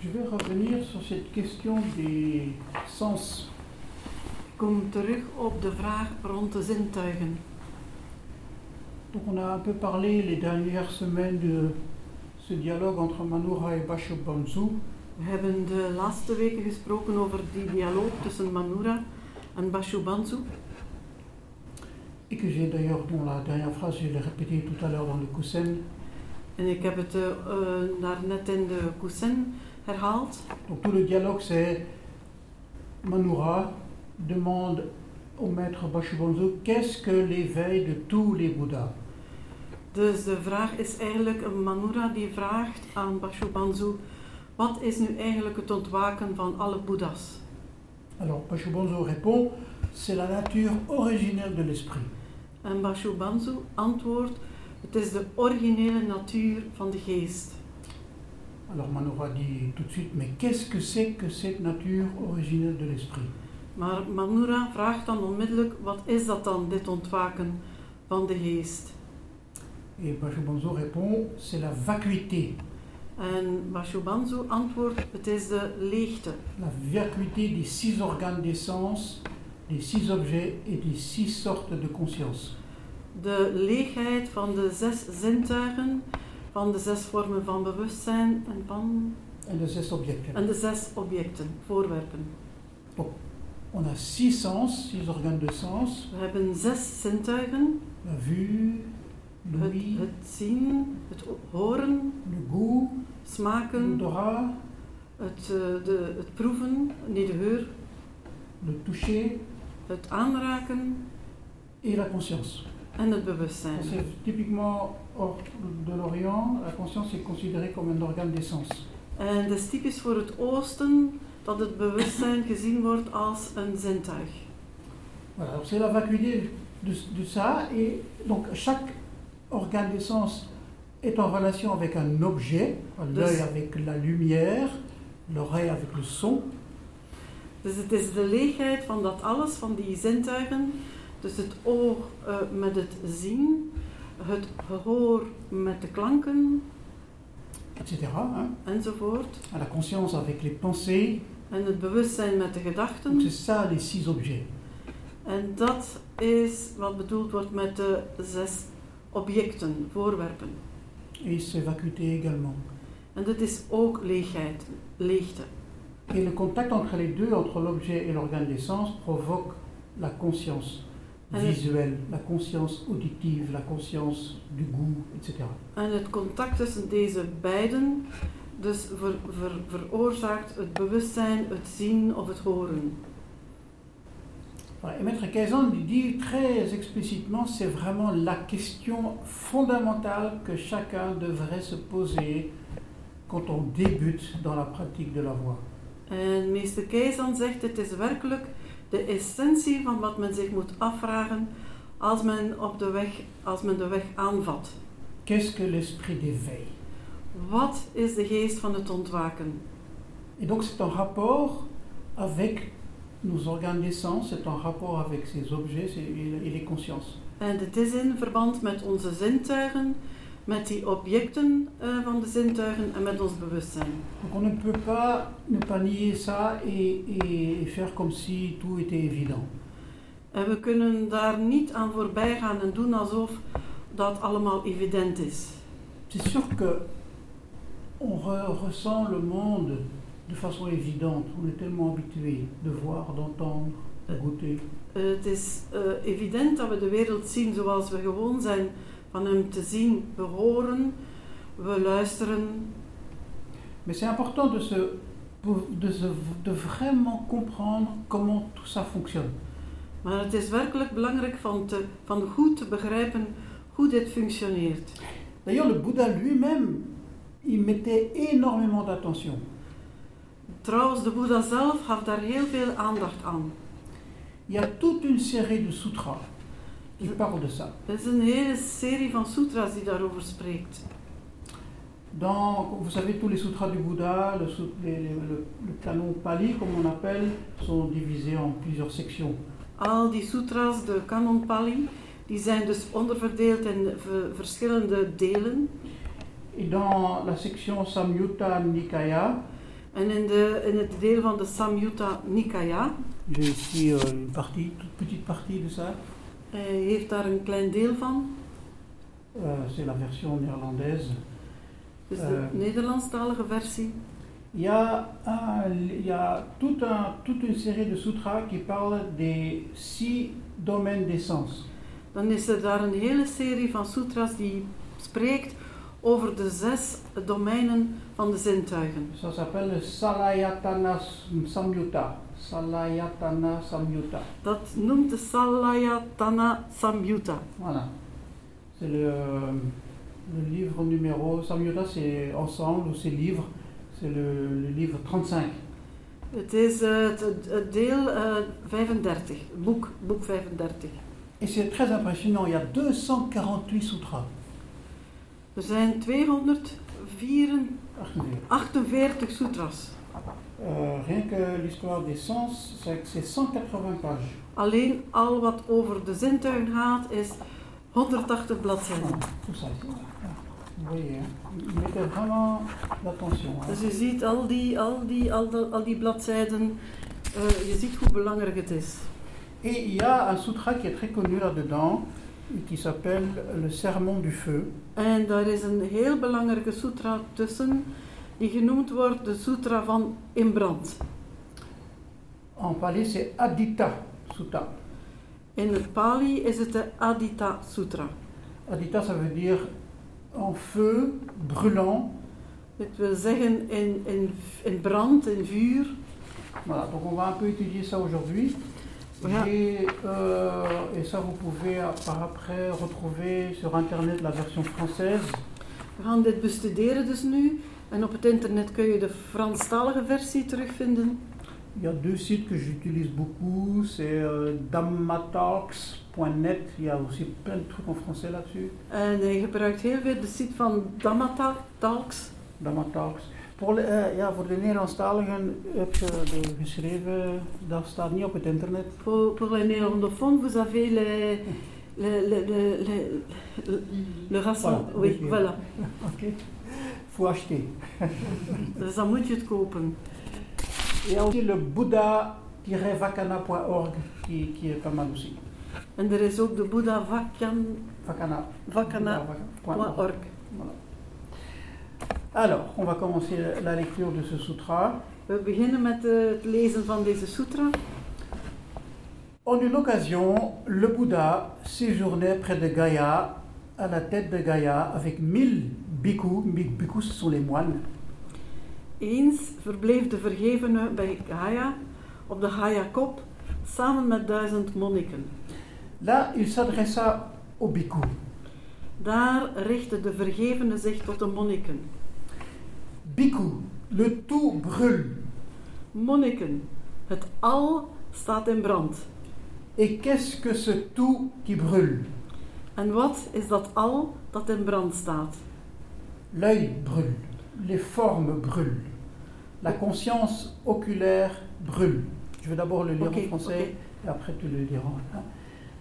Je vais revenir sur cette question des sens. Ik kom terug op de vraag rond de zintuigen. Donc on a un peu parlé les dernières semaines de ce dialogue entre Manura et Basho Banzu. We hebben de laatste weken gesproken over die dialoog tussen Manura en Bashubansu. Et que j'ai d'ailleurs, dont la dernière phrase, je l'ai répétée tout à l'heure dans le Kusen. En ik heb het eh, eh, daarnet in de Kusen herhaald. Donc tout le dialogue, c'est Manura demande au maître Bashubonzo qu'est-ce que l'éveil de tous les Bouddhas. Dus de vraag is eigenlijk, een Manura die vraagt aan Bashubansu, wat is nu eigenlijk het ontwaken van alle boeddha's? Alors Bashubonzo répond c'est la nature originaire de l'esprit. En Bashubansu antwoordt, het is de originele natuur van de geest. Alors Manura dit tout de suite mais qu'est-ce que c'est que cette nature originelle de l'esprit Maar Manura vraagt dan onmiddellijk, wat is dat dan, dit ontwaken van de geest? Et Bashubonzo répond c'est la vacuité, En Bashubansu antwoordt, het is de leegte. la vacuité des six organes des sens, des six objets et des six sortes de conscience. De leegheid van de zes zintuigen, van de zes vormen van bewustzijn en van... Et de six objects. En de zes objecten, voorwerpen. On a six sens, six organes de sens, We hebben zes zintuigen. la vue, l'ouïe, Het, het zien, het o- horen, le goût, smaken, l'odorat, het, eh, de, het proeven, nee de geur, le toucher het aanraken et la conscience. en het bewustzijn. C'est typiquement hors de l'Orient, la conscience est considérée comme un organe des sens. En Eh, dat is typisch voor het oosten dat het bewustzijn gezien wordt als een zintuig. Voilà, donc c'est la vacuité de, de ça, et donc chaque organe des sens est en relation avec un objet, l'œil avec la lumière, l'oreille avec le son, Dus het is de leegheid van dat alles, van die zintuigen. Dus het oog eh, met het zien, het gehoor met de klanken etc. hein. enzovoort. La conscience avec les pensées, En het bewustzijn met de donc gedachten. c'est ça les six objets. En dat is wat bedoeld wordt met de zes objecten, voorwerpen. Et c'est vacuité également. En dat is ook leegheid, leegte. Et le contact entre les deux, entre l'objet et l'organe des sens, provoque la conscience Allez. visuelle, la conscience auditive, la conscience du goût, etc. En het contact tussen deze beiden dus ver- ver- veroorzaakt het bewustzijn, het zien of het horen. Voilà. Et Maître Kaizen il dit très explicitement, c'est vraiment la question fondamentale que chacun devrait se poser quand on débute dans la pratique de la voie. En meester Keizan zegt, het is werkelijk de essentie van wat men zich moet afvragen als men, op de, weg, als men de weg aanvat. Qu'est-ce que l'esprit d'éveil Wat is de geest van het ontwaken? Et donc c'est en rapport avec nos organes des sens, c'est en rapport avec ces objets c'est- et les consciences. En dit is in verband met onze zintuigen, met die objecten eh, van de zintuigen en met ons bewustzijn. Donc on ne peut pas ne pas nier ça et, et faire comme si tout était évident. En we kunnen daar niet aan voorbij gaan en doen alsof dat allemaal evident is. C'est sûr que on re- ressent le monde de façon évidente. On est tellement habitué de voir, d'entendre, de goûter. Eh, het is eh, evident dat we de wereld zien zoals we gewoon zijn van hem te zien. We horen, we luisteren. Mais c'est important de, se, de, se- de vraiment comprendre comment tout ça fonctionne. Maar het is werkelijk belangrijk van, te, van goed te begrijpen hoe dit functioneert. D'ailleurs, le Bouddha lui-même, il mettait énormément d'attention. Trouwens, de Boeddha zelf gaf daar heel veel aandacht aan. Il y a toute une série de sutras qui parlent de ça. Er is een hele serie van sutras die daarover spreekt. Dans, vous savez, tous les sutras du Bouddha, le, sut- les- les- le- le canon pali, comme on appelle, sont divisés en plusieurs sections. Al die sutras, de Kanon Pali, die zijn dus onderverdeeld in v- verschillende delen. Et dans la section Samyutta Nikaya, En in, de, in het deel van de Samyutta Nikaya, J'ai ici euh, une partie, toute petite partie de ça. hij heeft daar een klein deel van. Euh, c'est la version néerlandaise. Dus de Eh. Nederlandstalige versie. Il y a, un- il y a tout un- toute une série de sutras qui parlent des six domaines des sens. Dan is er daar een hele serie van sutras die spreekt over de zes domeinen van de zintuigen. Ça s'appelle le Salayatana Samyutta. Salayatana Samyutta. Dat noemt de Salayatana Samyutta. Voilà. C'est le, le livre numéro. Samyutta, c'est ensemble ou c'est livre. C'est le, le livre 35. Het is eh, het, het- het deel eh, 35, boek, boek 35. Et c'est très impressionnant. Il y a 248 sutras. Er zijn 248 Arrêtez. sutras. Euh, rien que l'histoire des sens, c'est que c'est 180 pages. Alleen al wat over de zintuigen gaat is 180 bladzijden. Tout ça. ici. Vous voyez, hein. il mettait vraiment l'attention. hein. Dus je ziet al die, al die, al de- al die bladzijden, eh, je ziet hoe belangrijk het is. Et il y a un sutra qui est très connu là-dedans, qui s'appelle le Sermon du Feu. En daar is een heel belangrijke sutra tussen, die genoemd wordt de Sutra van In Brand. En palais, c'est Adita Sutta. In het Pali is het de Adita Sutra. Adita, ça veut dire en feu, brûlant. Het wil zeggen in, in, in brand, in vuur. Voilà, donc on va un peu étudier ça aujourd'hui. Voilà. J'ai, euh, et ça, vous pouvez euh, par après retrouver sur Internet la version française. We gaan dit bestuderen dus nu. En op het internet kun je de Franstalige versie terugvinden. Il y a deux sites que j'utilise beaucoup, c'est euh, dammatalks.net, il y a aussi plein de trucs en français là-dessus, En hij gebruikt heel veel de site van Damata Talks. dammatalks. Voor, de- eh, ja, voor de Nederlandstaligen heb je de geschreven, dat staat niet op het internet. Pour, pour les néerlandophones, vous avez le, le, le, le, le, le, le rassemblement. Voilà, Oui, dus je- voilà. Oké. Faut acheter. Dus dan moet je het kopen. Il y a aussi le buddha-vakana.org qui, qui est pas mal aussi. En er is ook de Boeddha Vakyan, Vakana. Vakana. Buddha-vakana.org. org. Voilà. Alors, on va commencer la lecture de ce sutra. We beginnen met eh, het lezen van deze sutra. En une occasion, le Bouddha séjournait près de Gaïa, à la tête de Gaïa, avec mille bhikkhus. Mille bhikkhus, ce sont les moines. Eens verbleef de vergevene bij Gaia op de Gaia-kop samen met duizend monniken. Là, il s'adressa aux bhikkhus. Daar richtte de vergevene zich tot de monniken. Bhikkhus, le tout brûle. Monniken, het al staat in brand. Et qu'est-ce que ce tout qui brûle En wat is dat al dat in brand staat? L'œil brûle, les formes brûlent, la conscience oculaire brûle. Je vais d'abord le lire Ok, en français ok. et après tu le liras. hein.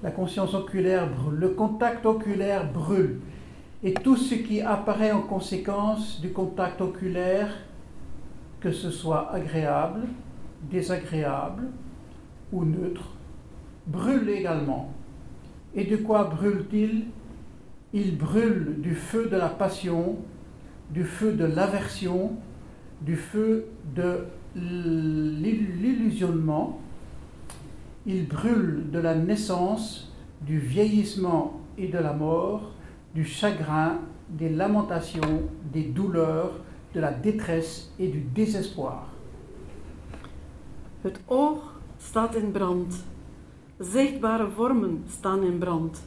La conscience oculaire brûle, le contact oculaire brûle. Et tout ce qui apparaît en conséquence du contact oculaire, que ce soit agréable, désagréable ou neutre, brûle également. Et de quoi brûle-t-il Il brûle du feu de la passion, du feu de l'aversion, du feu de l'il- l'illusionnement. Il brûle de la naissance, du vieillissement et de la mort, du chagrin, des lamentations, des douleurs, de la détresse et du désespoir. Het oog staat in brand. Zichtbare vormen staan in brand.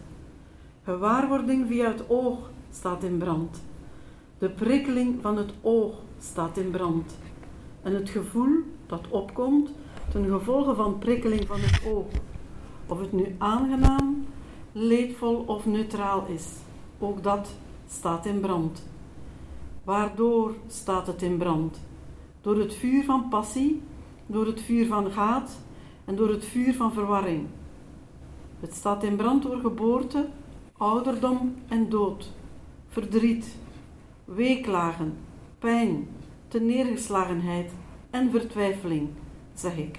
Gewaarwording via het oog staat in brand. De prikkeling van het oog staat in brand. En het gevoel dat opkomt ten gevolge van prikkeling van het oog, of het nu aangenaam, leedvol of neutraal is, ook dat staat in brand. Waardoor staat het in brand? Door het vuur van passie door het vuur van haat en door het vuur van verwarring. Het staat in brand door geboorte, ouderdom en dood, verdriet, weeklagen, pijn, teneergeslagenheid en vertwijfeling, zeg ik.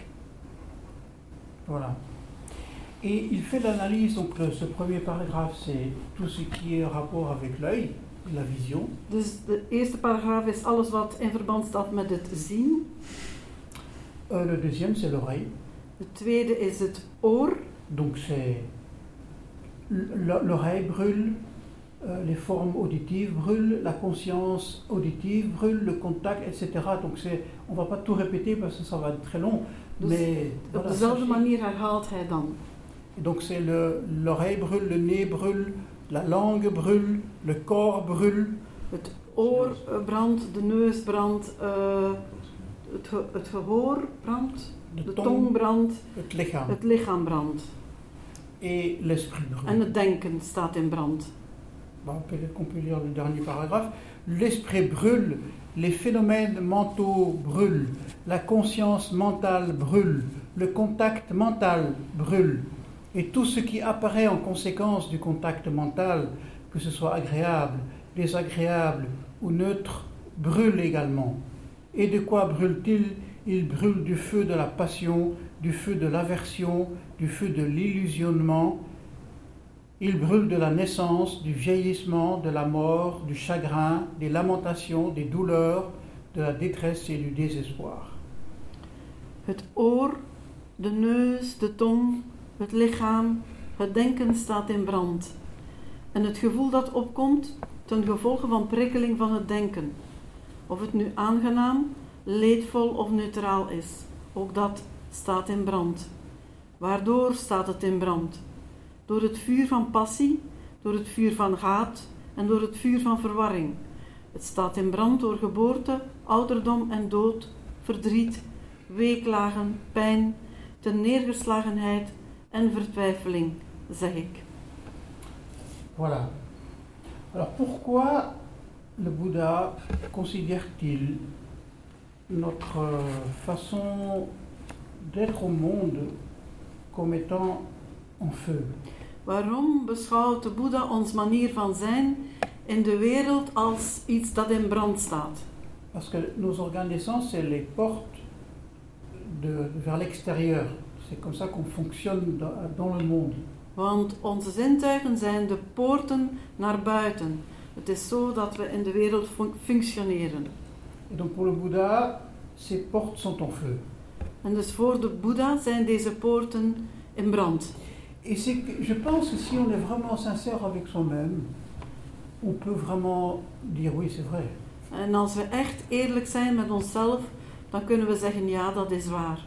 Voilà. Et il fait l'analyse, donc le- ce premier paragraphe, c'est tout ce qui est en rapport avec l'œil, la vision. Dus de eerste paragraaf is alles wat in verband staat met het zien. Euh, le deuxième, c'est l'oreille. De tweede is het oor. Donc c'est l- l'oreille brûle, euh, les formes auditives brûlent, la conscience auditive brûle, le contact, etc. Donc c'est, on va pas tout répéter parce que ça va être très long. Dus mais Op voilà, dezelfde sachez- manier herhaalt hij dan. Donc c'est le- l'oreille brûle, le nez brûle, la langue brûle, le corps brûle, Het oor eh, brandt, de neus brandt, eh, het, ge- het gehoor brandt, le de tong tong, brandt, het lichaam het lichaam brandt. et l'esprit brûle. En het denken staat in brand. Bon, Peut-être qu'on peut lire le dernier paragraphe. L'esprit brûle, les phénomènes mentaux brûlent, la conscience mentale brûle, le contact mental brûle, et tout ce qui apparaît en conséquence du contact mental, que ce soit agréable, désagréable ou neutre, brûle également. Et de quoi brûle-t-il Il brûle du feu de la passion, du feu de l'aversion, du feu de l'illusionnement, il brûle de la naissance, du vieillissement, de la mort, du chagrin, des lamentations, des douleurs, de la détresse et du désespoir. Het oor, de neus, de tong, het lichaam, het denken staat in brand. En het gevoel dat opkomt ten gevolge van prikkeling van het denken. Of het nu aangenaam, leedvol of neutraal is, ook dat staat in brand. Waardoor staat het in brand? Door het vuur van passie, door het vuur van haat en door het vuur van verwarring. Het staat in brand door geboorte, ouderdom en dood, verdriet, weeklagen, pijn, neergeslagenheid en vertwijfeling, zeg ik. Voilà. Alors pourquoi le Bouddha considère-t-il notre euh, façon d'être au monde comme étant en feu Waarom beschouwt de Boeddha ons manier van zijn in de wereld als iets dat in brand staat? Parce que nos organes de sens, c'est les portes de- vers l'extérieur. C'est comme ça qu'on fonctionne dans- dans le monde. Want onze zintuigen zijn de poorten naar buiten. Het is zo dat we in de wereld fun- functioneren. Et donc pour le Bouddha, ces portes sont en feu. En dus voor de Boeddha zijn deze poorten in brand. Et c'est que je pense que si on est vraiment sincère avec soi-même, on peut vraiment dire oui, c'est vrai. En als we echt eerlijk zijn met onszelf, dan kunnen we zeggen ja, dat is waar.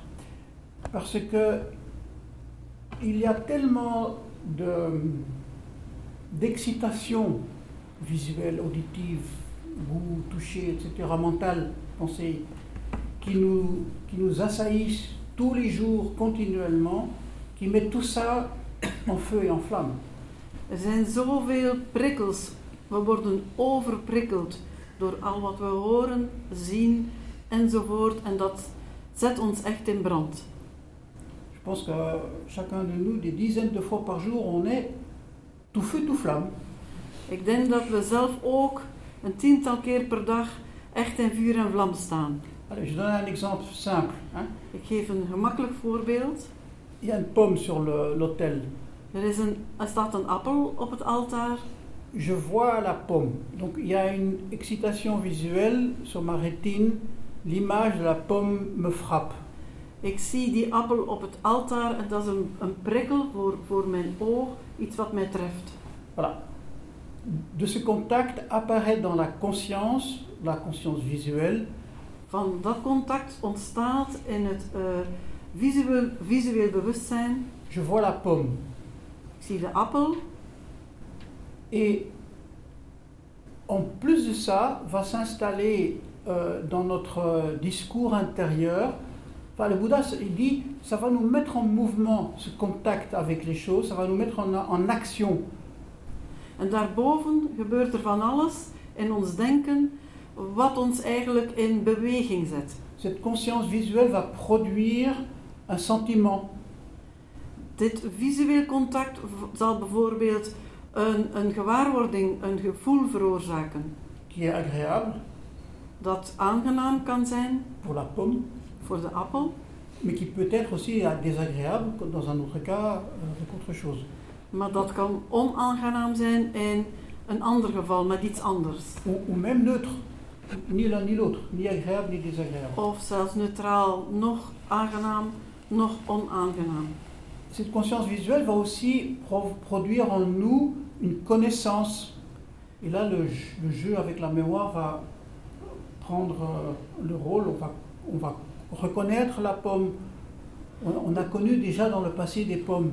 Parce que il y a tellement de- d'excitation visuelle, auditive, goût, toucher, etc., mentale, pensée, qui nous, qui nous assaillissent tous les jours, continuellement, qui mettent tout ça en feu et en flamme. Er zijn zoveel prikkels. We worden overprikkeld door al wat we horen, zien enzovoort. En dat zet ons echt in brand. Je pense que chacun de nous, des dizaines de fois par jour, on est tout feu, tout flamme. Ik denk dat we zelf ook een tiental keer per dag echt in vuur en vlam staan. Allez, je donne un exemple simple. hein. Ik geef een gemakkelijk voorbeeld. Il y a une pomme sur le- l'autel. Er, is een, er staat een appel op het altaar. Je vois la pomme. Donc il y a une excitation visuelle sur ma rétine. L'image de la pomme me frappe. Ik zie die appel op het altaar en dat is een, een prikkel voor, voor mijn oog, iets wat mij treft. Voilà. De ce contact apparaît dans la conscience, la conscience visuelle, Van dat contact ontstaat in het eh, visueel, visueel bewustzijn. je vois la pomme. Ik zie de appel. Et en plus de ça, va s'installer euh, dans notre euh, discours intérieur, enfin, le Bouddha il dit, ça va nous mettre en mouvement ce contact avec les choses, ça va nous mettre en, en action. En daarboven gebeurt er van alles in ons denken, wat ons eigenlijk in beweging zet. Cette conscience visuelle va produire un sentiment. Dit visueel contact v- zal bijvoorbeeld een, een gewaarwording, een gevoel veroorzaken. qui est agréable Dat aangenaam kan zijn pour la pomme, voor de appel, mais qui peut être aussi euh, désagréable comme dans un autre cas euh, avec autre chose. maar dat kan onaangenaam zijn in een ander geval met iets anders. Ou, ou même neutre, ni l'un ni l'autre, ni agréable ni désagréable. Of zelfs neutraal, nog aangenaam, nog onaangenaam. Cette conscience visuelle va aussi pro- produire en nous une connaissance. Et là, le, j- le jeu avec la mémoire va prendre euh, le rôle, on va, on va reconnaître la pomme. On, on a connu déjà dans le passé des pommes.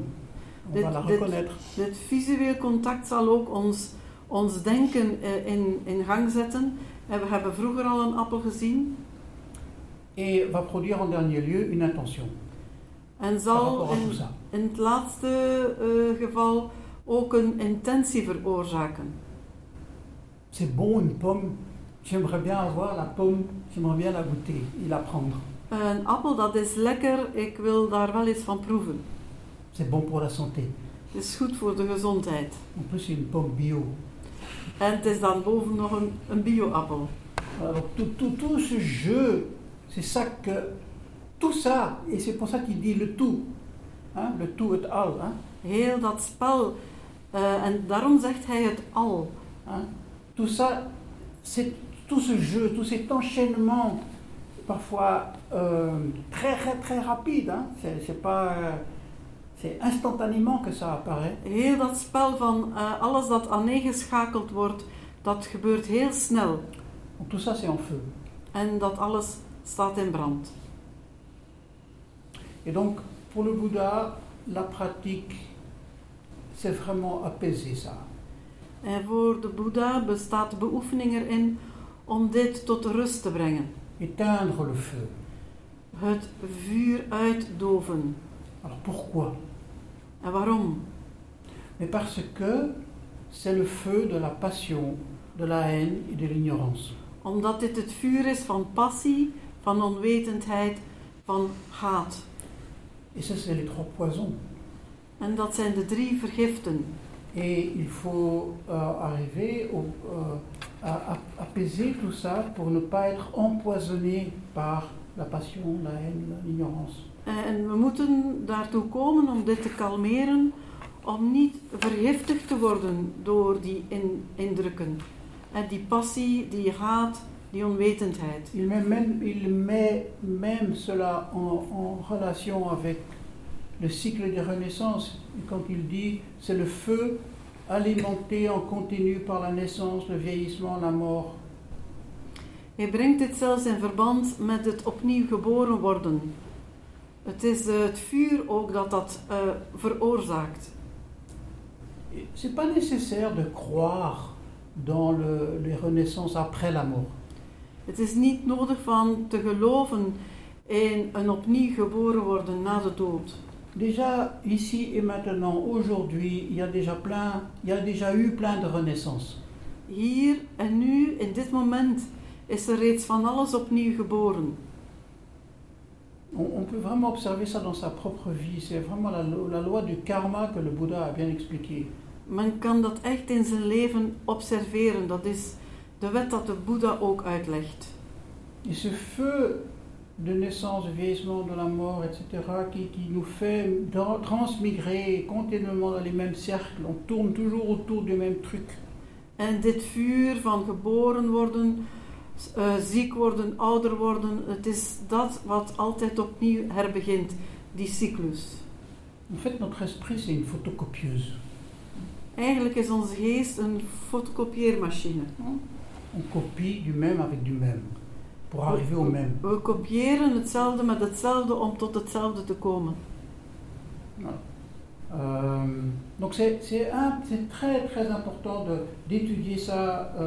On Dit- va la dit- reconnaître. Dit visueel contact zal ook ons, ons denken eh, in, in gang zetten. En we hebben vroeger al een appel gezien Et va produire en dernier lieu une intention en par zal rapport à in, tout ça. in het laatste eh, geval ook een intentie veroorzaken. C'est bon une pomme, j'aimerais bien avoir la pomme, j'aimerais bien la goûter et la prendre. Een appel, dat is lekker, ik wil daar wel eens van proeven. C'est bon pour la santé. Het is goed voor de gezondheid. En plus, c'est une pomme bio. En het is dan boven nog een, een bio-appel. Alors, Euh, tout, tout, tout ce jeu, c'est ça que. Tout ça, et c'est pour ça qu'il dit le tout. Hein, le tout, et al. Hein, Heel dat spel. eh, en daarom zegt hij het al. hein. Tout ça, c'est tout ce jeu, tout cet enchaînement, parfois euh, très, très, très rapide. Hein, c'est, c'est pas. euh, c'est instantanément que ça apparaît. Heel dat spel van eh, alles dat aaneengeschakeld wordt, dat gebeurt heel snel. Donc, tout ça, c'est en feu. En dat alles staat in brand. Et donc, pour le Bouddha, la pratique, c'est vraiment apaiser ça. En voor de Boeddha bestaat de beoefening erin om dit tot rust te brengen. Éteindre le feu. Het vuur uitdoven. Alors pourquoi En waarom? mais parce que c'est le feu de la passion, de la haine et de l'ignorance. Omdat dit het vuur is van passie, van onwetendheid, van haat. Et ça, c'est les trois poisons. En dat zijn de drie vergiften. Et il faut euh, arriver au- euh, à, à- apaiser tout ça pour ne pas être empoisonné par la passion, la haine, l'ignorance. Eh, En we moeten daartoe komen om dit te kalmeren, om niet vergiftigd te worden door die in- indrukken. En die passie, die haat, die onwetendheid. Il met même, il met même cela en, en relation avec le cycle des renaissances. Et quand il dit c'est le feu alimenté en continu par la naissance, le vieillissement, la mort. Hij brengt dit zelfs in verband met het opnieuw geboren worden. Het is eh, het vuur ook dat dat eh, veroorzaakt. C'est pas nécessaire de croire dans le- les renaissances après la mort. Het is niet nodig van te geloven in een opnieuw geboren worden na de dood. Déjà ici et maintenant, aujourd'hui, il y a déjà plein, il y a déjà eu plein de renaissances. Hier en nu, in dit moment, is er reeds van alles opnieuw geboren. On, on peut vraiment observer ça dans sa propre vie. C'est vraiment la, lo- la loi du karma que le Bouddha a bien expliqué. Men kan dat echt in zijn leven observeren. Dat is de wet dat de Boeddha ook uitlegt. Et ce feu de naissance, de vieillissement, de la mort, etc., qui, qui nous fait dans- transmigrer continuellement dans les mêmes cercles, on tourne toujours autour du même truc. En dit vuur van geboren worden, s- eh, ziek worden, ouder worden, het is dat wat altijd opnieuw herbegint, die cyclus. En fait, notre esprit, c'est une photocopieuse. Eigenlijk is onze geest een fotocopieermachine. On copie du même avec du même pour arriver au même. We kopiëren hetzelfde met hetzelfde om tot hetzelfde te komen. Euh, donc c'est c'est un- c'est très très important de- d'étudier ça euh,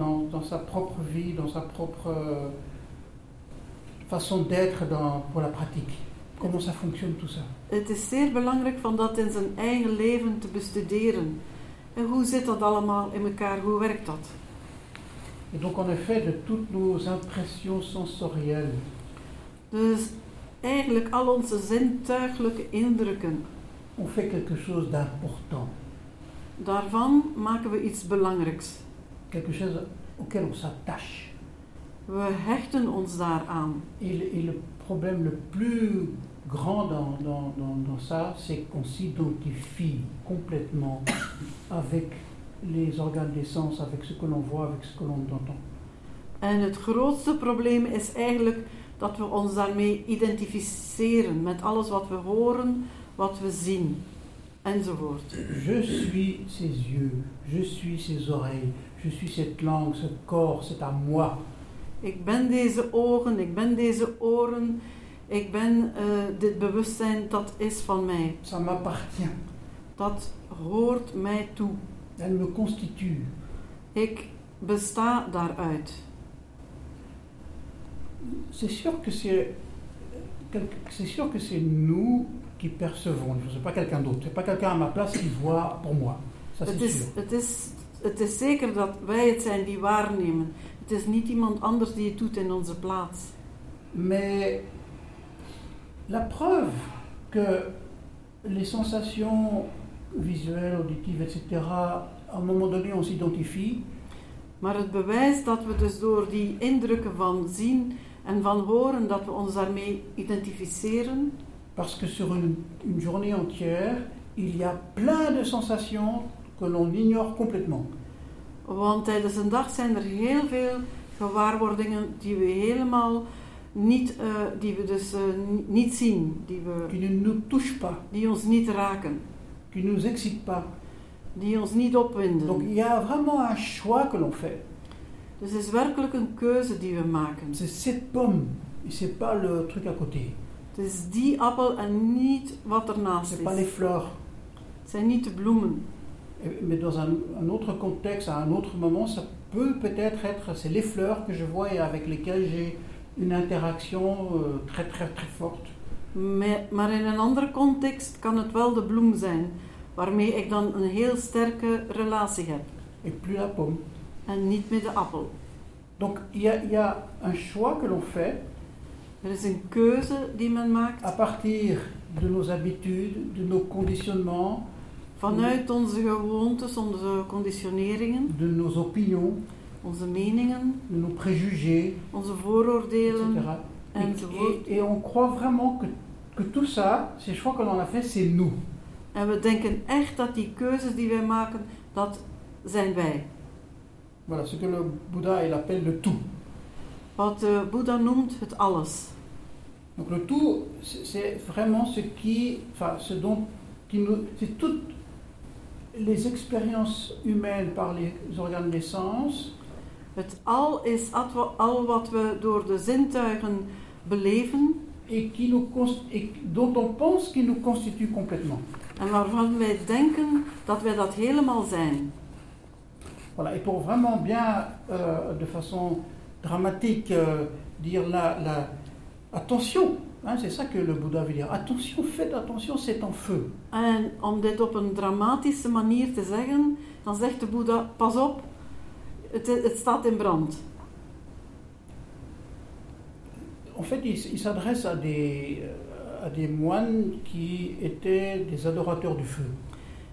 dans, dans sa propre vie, dans sa propre euh, façon d'être dans- pour la pratique. Comment ça fonctionne tout ça Het is zeer belangrijk om dat in zijn eigen leven te bestuderen. En hoe zit dat allemaal in elkaar? Hoe werkt dat? Et donc en effet, de toutes nos impressions sensorielles, Dus eigenlijk al onze zintuiglijke indrukken, on fait quelque chose d'important, daarvan maken we iets belangrijks. quelque chose auquel on s'attache. We hechten ons daaraan. Et le, et le problème le plus grand dans, dans- dans- dans ça, c'est qu'on s'identifie complètement avec les organes des sens, avec ce que l'on voit, avec ce que l'on entend. En het grootste probleem is eigenlijk dat we ons daarmee identificeren met alles wat we horen, wat we zien, enzovoort. Je suis ses yeux, je suis ses oreilles, je suis cette langue, ce corps, c'est à moi. Ik ben deze ogen, ik ben deze oren, ik ben eh, dit bewustzijn, dat is van mij. Ça m'appartient. Dat hoort mij toe. Elle me constitue. Ik besta daaruit. C'est sûr que c'est quel- c'est sûr que c'est nous qui percevons. Je ne sais pas quelqu'un d'autre. C'est pas quelqu'un à ma place qui voit pour moi. Ça Het c'est is, sûr. het, is, het is zeker dat wij het zijn die waarnemen. Het is niet iemand anders die het doet in onze plaats. Mais la preuve que les sensations visuelles, auditives, etc. À un moment donné, on s'identifie. Maar het bewijs dat we dus door die indrukken van zien en van horen, dat we ons daarmee identificeren. Parce que sur une, une journée entière, il y a plein de sensations que l'on ignore complètement. Want tijdens een dag zijn er heel veel gewaarwordingen die we helemaal niet, eh, die we dus eh, ni- niet zien, die, we, Qui ne nous touchent pas, die ons niet raken, qui ne nous excitent pas. die ons niet Donc opwinden. il y a vraiment un choix que l'on fait. Dus het is werkelijk een keuze die we maken. C'est cette pomme, et c'est pas le truc à côté. Het is die appel en niet wat ernaast C'est pas les is. fleurs. Het zijn niet de bloemen. Et- Mais dans un, un autre contexte, à un autre moment, ça peut peut-être être, c'est les fleurs que je vois et avec lesquelles j'ai une interaction euh, très très très forte. Me- Maar in een andere context kan het wel de bloem zijn, waarmee ik dan een heel sterke relatie heb. Et plus la pomme. En niet met de appel. Donc il y a, il y a un choix que l'on fait Er is een keuze die men maakt à partir de nos habitudes, de nos conditionnements, vanuit onze gewoontes, onze conditioneringen, de nos opinions, onze meningen, de nos préjugés, onze etc. vooroordelen. Et, Enzovoort. et- et on croit vraiment que, que tout ça, ces choix que l'on a fait, c'est nous. En we denken echt dat die keuzes die wij maken, dat zijn wij. Voilà ce que le Bouddha il appelle le tout. Wat eh, Boeddha noemt het alles. Donc le tout, c'est c'est vraiment ce qui, enfin ce dont, qui nous, c'est toutes les expériences humaines par les organes des sens, Het al is at- al wat we door de zintuigen beleven et qui nous cons- et dont on pense qu'ils nous constituent complètement. en waarvan wij denken dat wij dat helemaal zijn. Voilà. Et pour vraiment bien, euh, de façon dramatique, euh, dire la, la- attention, hein, c'est ça que le Bouddha veut dire. Attention, faites attention, c'est en feu. En om dit op een dramatische manier te zeggen, dan zegt de Boeddha: Pas op, het, het staat in brand. En fait, il, s- il s'adresse à des, euh, à des moines qui étaient des adorateurs du feu.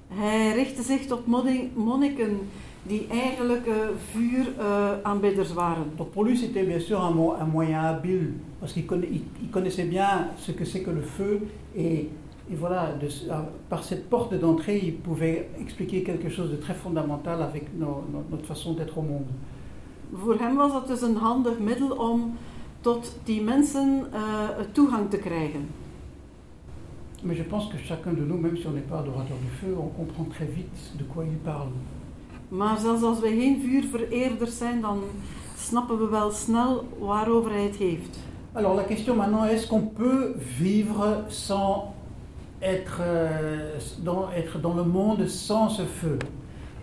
Hij richtte zich tot modding- monniken die eigenlijk eh, vuuraanbidders waren. Donc pour lui, c'était bien sûr un, mo- un moyen habile, parce qu'il conna- il- il connaissait bien ce que c'est que le feu, et, et voilà, de ce- à- par cette porte d'entrée, il pouvait expliquer quelque chose de très fondamental avec nos- no- notre façon d'être au monde. Voor hem was dat dus een handig middel om tot die mensen eh, toegang te krijgen. Mais je pense que chacun de nous, même si on n'est pas adorateur du feu, on comprend très vite de quoi il parle. Maar zelfs als wij geen vuurvereerders zijn, dan snappen we wel snel waarover hij het heeft. Alors la question maintenant, est-ce qu'on peut vivre sans être, euh, dans, être dans le monde sans ce feu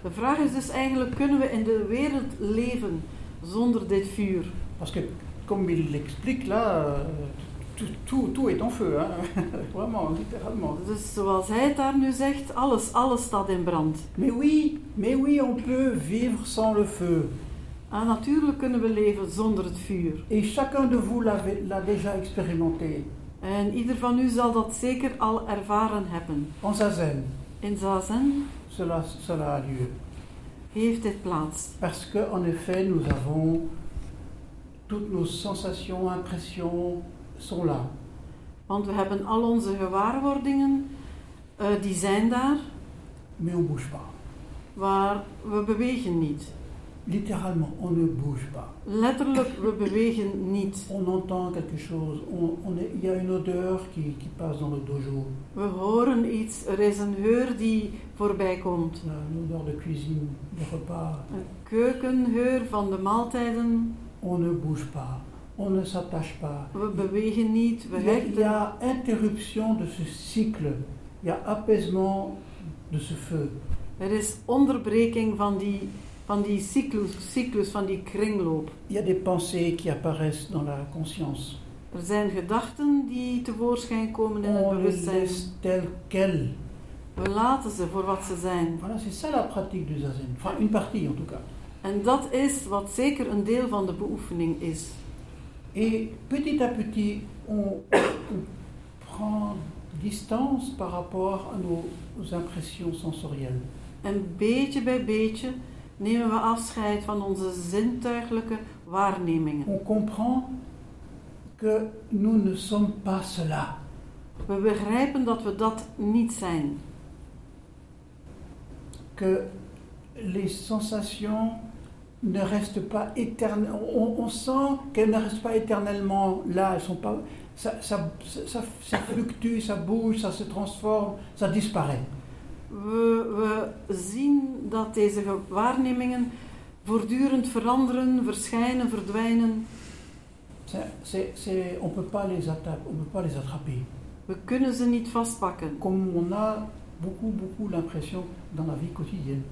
De vraag is dus eigenlijk, kunnen we in de wereld leven zonder dit vuur? Parce que, comme il l'explique là, euh, tout, tout- tout est en feu, hein. vraiment, littéralement. Dus zoals hij het daar nu zegt, alles, alles staat in brand. Mais oui, mais oui, on peut vivre sans le feu. En Ah, natuurlijk kunnen we leven zonder het vuur. Et chacun de vous l'avait- l'a déjà expérimenté En ieder van u zal dat zeker al ervaren hebben. en zazen. In Zazen Cela, cela a lieu. heeft dit plaats. Parce que, en effet, nous avons toutes nos sensations, impressions sont là. Want we hebben al onze gewaarwordingen, eh, die zijn daar, mais on ne bouge pas. maar we bewegen niet. Littéralement, on ne bouge pas. Letterlijk, we bewegen niet. On entend quelque chose, on- on est- il y a une odeur qui, qui passe dans le dojo, We horen iets, er is een geur die voorbij komt. on a euh, une odeur de cuisine, de repas. Een keukenheur van de maaltijden. On ne bouge pas, on ne s'attache pas. We bewegen niet, we Il y a- il y hechten. a interruption de ce cycle, il y a apaisement de ce feu. Er is onderbreking van die, van die cyclus, cyclus, van die kringloop. Il y a des pensées qui apparaissent dans la conscience. Er zijn gedachten die tevoorschijn komen in het On les bewustzijn. laisse telles quelles. We laten ze voor wat ze zijn. Voilà, c'est ça la pratique du zazen. Enfin, une partie en tout cas. En dat is wat zeker een deel van de beoefening is. Et petit à petit, on, on prend distance par rapport à nos, aux impressions sensorielles. En beetje bij beetje nemen we afscheid van onze zintuiglijke waarnemingen. On comprend que nous ne sommes pas cela. We begrijpen dat we dat niet zijn. que les sensations ne restent pas éternellement. On, on sent qu'elles ne restent pas éternellement là. Elles sont pas. Ça, ça, ça, ça- ça fluctue, ça bouge, ça se transforme, ça disparaît. We, we zien dat deze ge- waarnemingen voortdurend veranderen, verschijnen, verdwijnen. C'est- c'est- c'est- on peut pas les atta- on peut pas les attraper. We kunnen ze niet vastpakken. Comme on a beaucoup, beaucoup l'impression dans la vie quotidienne.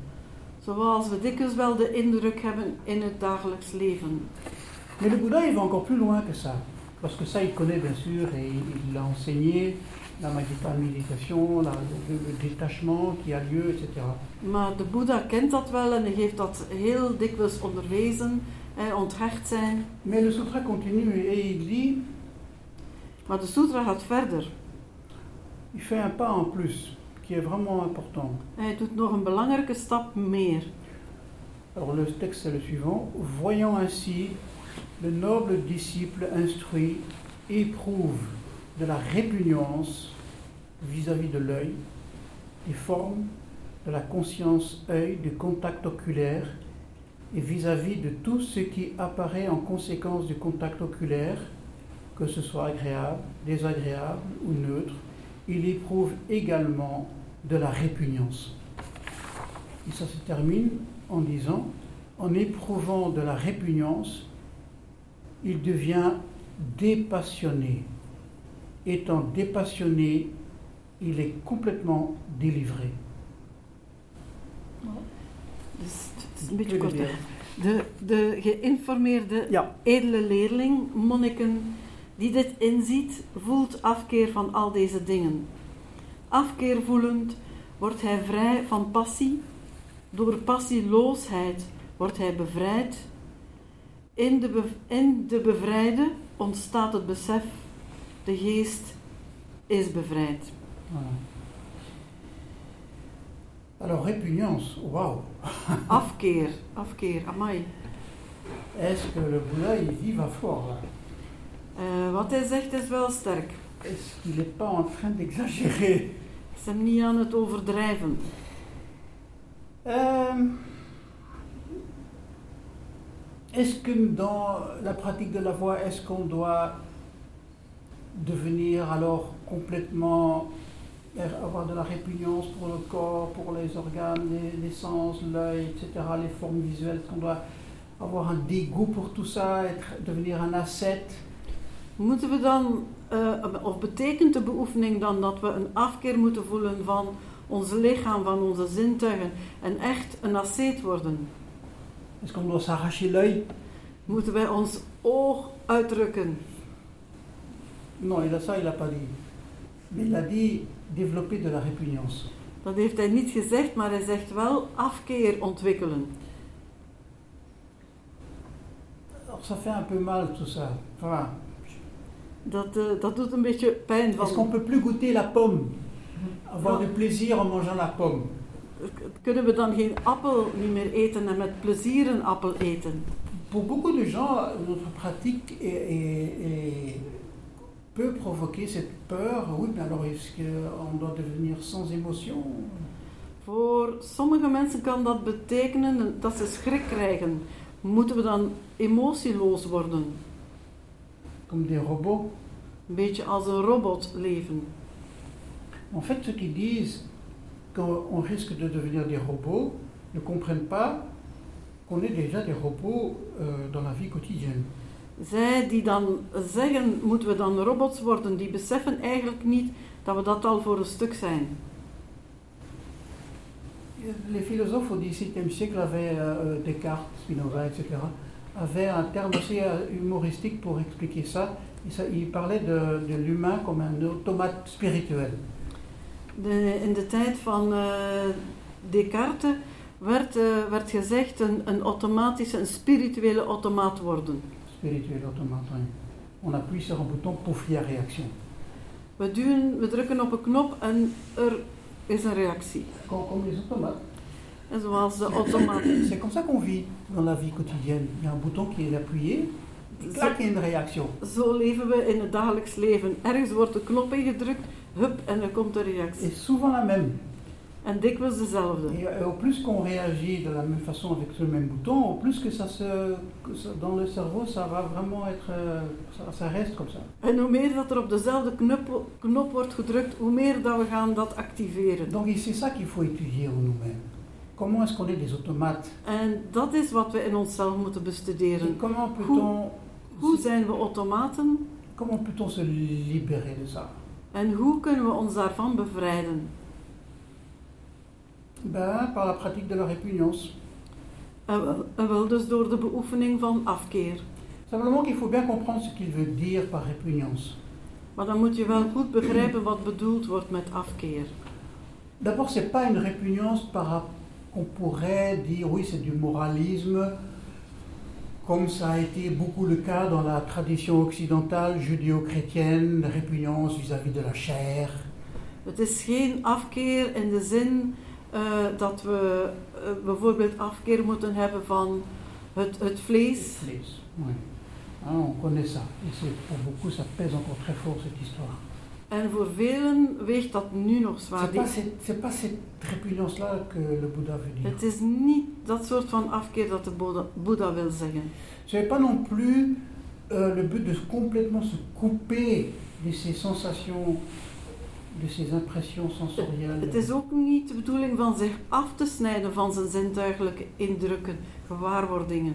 Zoals we dikwijls wel de indruk hebben in het dagelijks leven. Mais le Bouddha, il va encore plus loin que ça. Parce que ça, il connaît bien sûr et il- il l'a enseigné, la Magnifique méditation, la- le, le détachement qui a lieu, etc. Maar de Boeddha kent dat wel en hij heeft dat heel dikwijls onderwezen, eh, onthecht zijn. Mais le sutra continue et il dit, Maar de sutra gaat verder. il fait un pas en plus, qui est vraiment important. Hij doet nog een belangrijke stap meer. Alors le texte c'est le suivant. Voyant ainsi, le noble disciple instruit éprouve de la répugnance vis-à-vis de l'œil, des formes, de la conscience œil, du contact oculaire, et vis-à-vis de tout ce qui apparaît en conséquence du contact oculaire, que ce soit agréable, désagréable ou neutre, il éprouve également de la répugnance. Et ça se termine en disant, en éprouvant de la répugnance, il devient dépassionné. Étant dépassionné, il est complètement délivré. Dus het is een beetje kort. hè. De, de geïnformeerde Ja. edele leerling, monniken, die dit inziet, voelt afkeer van al deze dingen. Afkeer voelend wordt hij vrij van passie. Door passieloosheid wordt hij bevrijd. In de, bev- in de bevrijde ontstaat het besef, de geest is bevrijd. Voilà. Alors répugnance, waouh Afkeer, afkeer, amai. Est-ce que le Bouddha, il dit, va fort là Eh, wat hij zegt is wel sterk. Est-ce qu'il n'est pas en train d'exagérer Is hem niet aan het overdrijven. Euh, Est-ce que dans la pratique de la voix, est-ce qu'on doit devenir alors complètement avoir de la répugnance pour le corps, pour les organes, les, les sens, l'œil, etc., les formes visuelles, est-ce qu'on doit avoir un dégoût pour tout ça, être, devenir un ascète Moeten we dan, eh, of betekent de beoefening dan dat we een afkeer moeten voelen van ons lichaam, van onze zintuigen en echt een asceet worden? Est-ce qu'on doit s'arracher l'œil Moeten wij ons oog uitdrukken? Non, il a ça, il n'a pas dit. Mais il a dit développer de la répugnance. Dat heeft hij niet gezegd, maar hij zegt wel afkeer ontwikkelen. Alors ça fait un peu mal tout ça. Voilà. Dat, eh, dat doet een beetje pijn. Est-ce qu'on Van, peut plus goûter la pomme Avoir du plaisir en mangeant la pomme kunnen we dan geen appel niet meer eten en met plezier een appel eten? Pour beaucoup de gens, notre pratique est- est- est- peut provoquer cette peur. Oui, mais alors est-ce qu'on doit devenir sans émotion Voor sommige mensen kan dat betekenen dat ze schrik krijgen. Moeten we dan emotieloos worden? Comme des robots Een beetje als een robot leven. En fait, ceux qui disent qu'on risque de devenir des robots ne comprennent pas qu'on est déjà des robots euh, dans la vie quotidienne. Zij die dan zeggen, moeten we dan robots worden, die beseffen eigenlijk niet dat we dat al voor een stuk zijn. Les philosophes au XVIIe siècle avaient, euh, Descartes, Spinoza, etc., avaient un terme assez euh, humoristique pour expliquer ça. Ils ça- ils parlaient de, de l'humain comme un automate spirituel. De, in de tijd van eh, Descartes werd, eh, werd gezegd een, een automatische, een spirituele automaat worden. Spirituel automate, oui. On appuie sur un bouton, pouf, il y a réaction. We, duwen, we drukken op een knop en er is een reactie. Comme, comme les automates. En zoals de automaat. C'est comme ça qu'on vit dans la vie quotidienne. Il y a un bouton qui est appuyé, Zo, clac, il y a une réaction. zo leven we in het dagelijks leven. Ergens wordt de knop ingedrukt, hup, en er komt een C'est reactie. souvent la même. En dikwijls dezelfde. Et euh, au plus qu'on réagit de la même façon avec ce même bouton, au plus que ça se. que ça- dans le cerveau, ça va vraiment être. euh, ça, ça reste comme ça. En hoe meer dat er op dezelfde knop, knop wordt gedrukt, hoe meer dat we gaan dat activeren. Donc et c'est ça qu'il faut étudier en nous-mêmes. Comment est-ce qu'on est des automates En dat is wat we in onszelf moeten Et bestuderen. Comment peut-on. Hoe zijn we automaten Comment peut-on se libérer de ça en hoe kunnen we ons daarvan bevrijden? ben, Par la pratique de la répugnance. En wel, en wel dus door de beoefening van afkeer. Simplement qu'il faut bien comprendre ce qu'il veut dire par répugnance. Maar dan moet je wel goed begrijpen wat bedoeld wordt met afkeer. D'abord, c'est pas une répugnance par rap- qu'on pourrait dire oui, c'est du moralisme, comme ça a été beaucoup le cas dans la tradition occidentale judéo-chrétienne, répugnance vis-à-vis de la chair. Het is geen afkeer in de zin eh, dat we eh, bijvoorbeeld afkeer moeten hebben van het, het vlees. Oui. Hein, on connaît ça. Et c'est, pour beaucoup, ça pèse encore très fort cette histoire. En voor velen weegt dat nu nog zwaar. C'est pas, Die- cette, c'est pas cette répugnance-là que le Bouddha veut dire. Het is niet dat soort van afkeer dat de Boeddha, Boeddha wil zeggen. C'est pas non plus euh, le but de complètement se couper de ces sensations, de ces impressions sensorielles. Het is ook niet de bedoeling van zich af te snijden van zijn zintuigelijke indrukken, gewaarwordingen.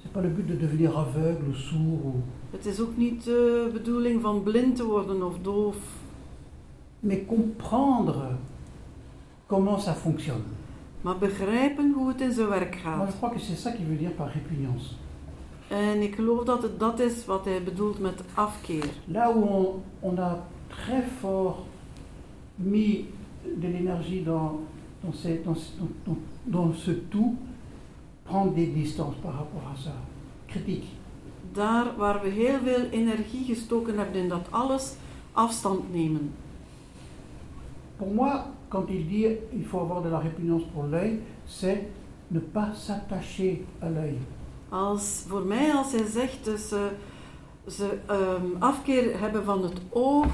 C'est pas le but de devenir aveugle ou sourd. ou- Het is ook niet de bedoeling van blind te worden of doof, Mais comprendre comment ça fonctionne. maar begrijpen hoe het in zijn werk Moi, gaat. je crois que c'est ça qu'il veut dire par répugnance. En ik geloof dat het dat is wat hij bedoelt met afkeer. Là où on, on a très fort mis de l'énergie dans, dans, ces- dans ce- dans- dans- dans ce tout, prendre des distances par rapport à ça. Critique. Daar waar we heel veel energie gestoken hebben in dat alles, afstand nemen. Pour moi, quand il dit il faut avoir de la répugnance pour l'œil, c'est ne pas s'attacher à l'œil. Als, voor mij, als hij zegt dus, eh, ze ehm, afkeer hebben van het oog,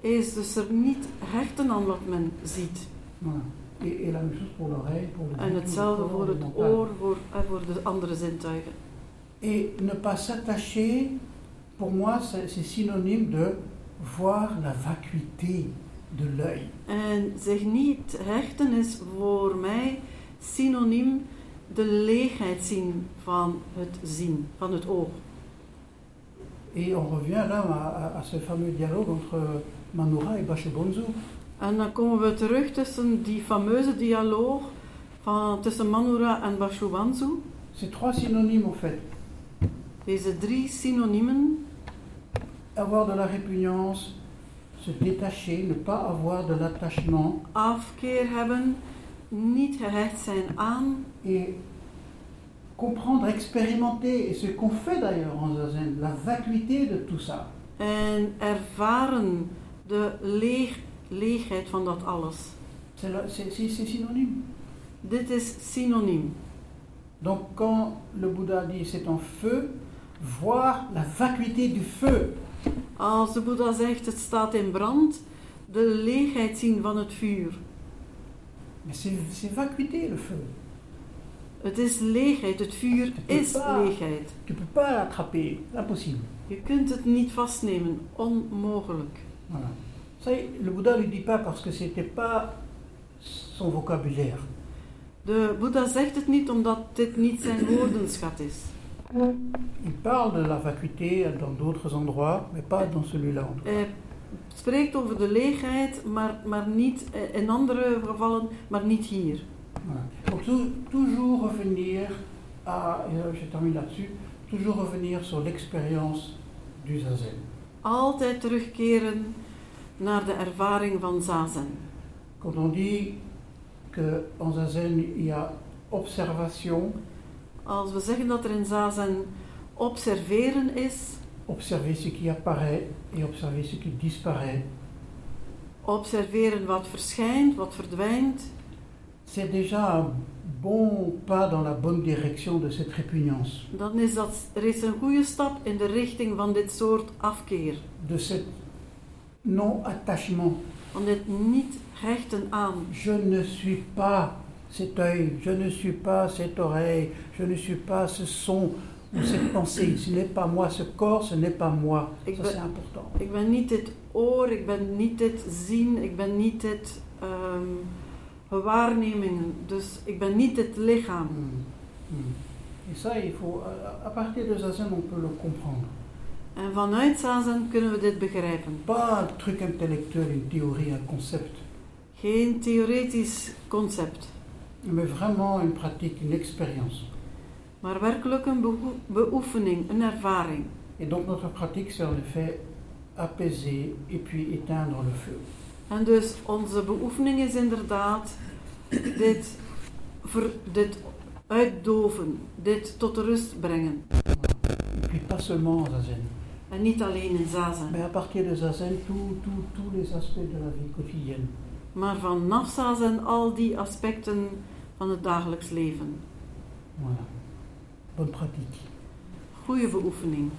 is dus er niet hechten aan wat men ziet. Voilà. Et, et la même chose pour l'oreille, pour le En le hetzelfde corps, voor le het mental. oor voor, en voor de andere zintuigen. Et ne pas s'attacher, pour moi, c'est c'est synonyme de voir la vacuité de l'œil. En zich niet hechten is voor mij synoniem de leegheid zien van het zien, van het oog. Et on revient là à, à- à ce fameux dialogue entre Manura et Bashobonzo. En dan komen we terug tussen die fameuze dialoog van, tussen Manura en Bashuwanzu. C'est trois synonymes en fait. Deze drie synoniemen Avoir de la répugnance, se détacher, ne pas avoir de l'attachement afkeer hebben, niet gehecht zijn aan et comprendre, expérimenter, et ce qu'on fait d'ailleurs en zazen, la vacuité de tout ça. en ervaren de leeg, leegheid van dat alles. C'est la- c'est- c'est- c'est synonyme. Dit is synoniem. Donc quand le Bouddha dit c'est en feu, voir la vacuité du feu. Als de Boeddha zegt het staat in brand, de leegheid zien van het vuur. Mais c'est c'est vacuité le feu. Het is leegheid, het vuur is leegheid. Tu peux pas l'attraper, impossible. Je kunt het niet vastnemen, onmogelijk. Voilà. Ça, le Bouddha ne le dit pas parce que c'était pas son vocabulaire. De Boeddha zegt het niet omdat dit niet zijn woordenschat is. Il parle de la vacuité dans d'autres endroits, mais pas dans celui-là. en tout cas. Hij Eh, spreekt over de leegheid, maar, maar niet eh, in andere gevallen, maar niet hier. Voilà. Faut tou- toujours revenir à, et là, je termine là-dessus, toujours revenir sur l'expérience du zazen. Altijd terugkeren naar de ervaring van Zazen. Quand on dit qu'en zazen il y a observation, Als we zeggen dat er in Zazen observeren is, observer ce qui apparaît et observer ce qui disparaît, observeren wat verschijnt, wat verdwijnt, c'est déjà un bon pas dans la bonne direction de cette répugnance, dan is dat reeds een goede stap in de richting van dit soort afkeer. de cet non-attachement. Van dit niet hechten aan. Je ne suis pas cet œil, je ne suis pas cette oreille, je ne suis pas ce son ou cette pensée. Ce n'est pas moi, ce corps, ce n'est pas moi. Et Ça, que- c'est important. Ik ben niet dit oor, ik ben niet dit zien, ik ben niet dit ehm waarnemingen. Dus ik ben niet dit lichaam. Mm. Mm. Et ça, il faut, à- à partir de Zazen, on peut le comprendre. En vanuit Zazen kunnen we dit begrijpen. Pas un truc intellectuel, une théorie, un concept, Geen theoretisch concept, mais vraiment une pratique, une expérience. maar werkelijk een beoe- beoefening, een ervaring. Et donc notre pratique, c'est en effet apaiser et puis éteindre le feu. En dus onze beoefening is inderdaad dit, ver, dit uitdoven, dit tot rust brengen. Et puis pas seulement en Zazen. En niet alleen in Zazen, Mais à partir de Zazen, tout- tout- tous les aspects de la vie quotidienne. maar vanaf Zazen al die aspecten van het dagelijks leven. Voilà. Bonne pratique. Goeie beoefening.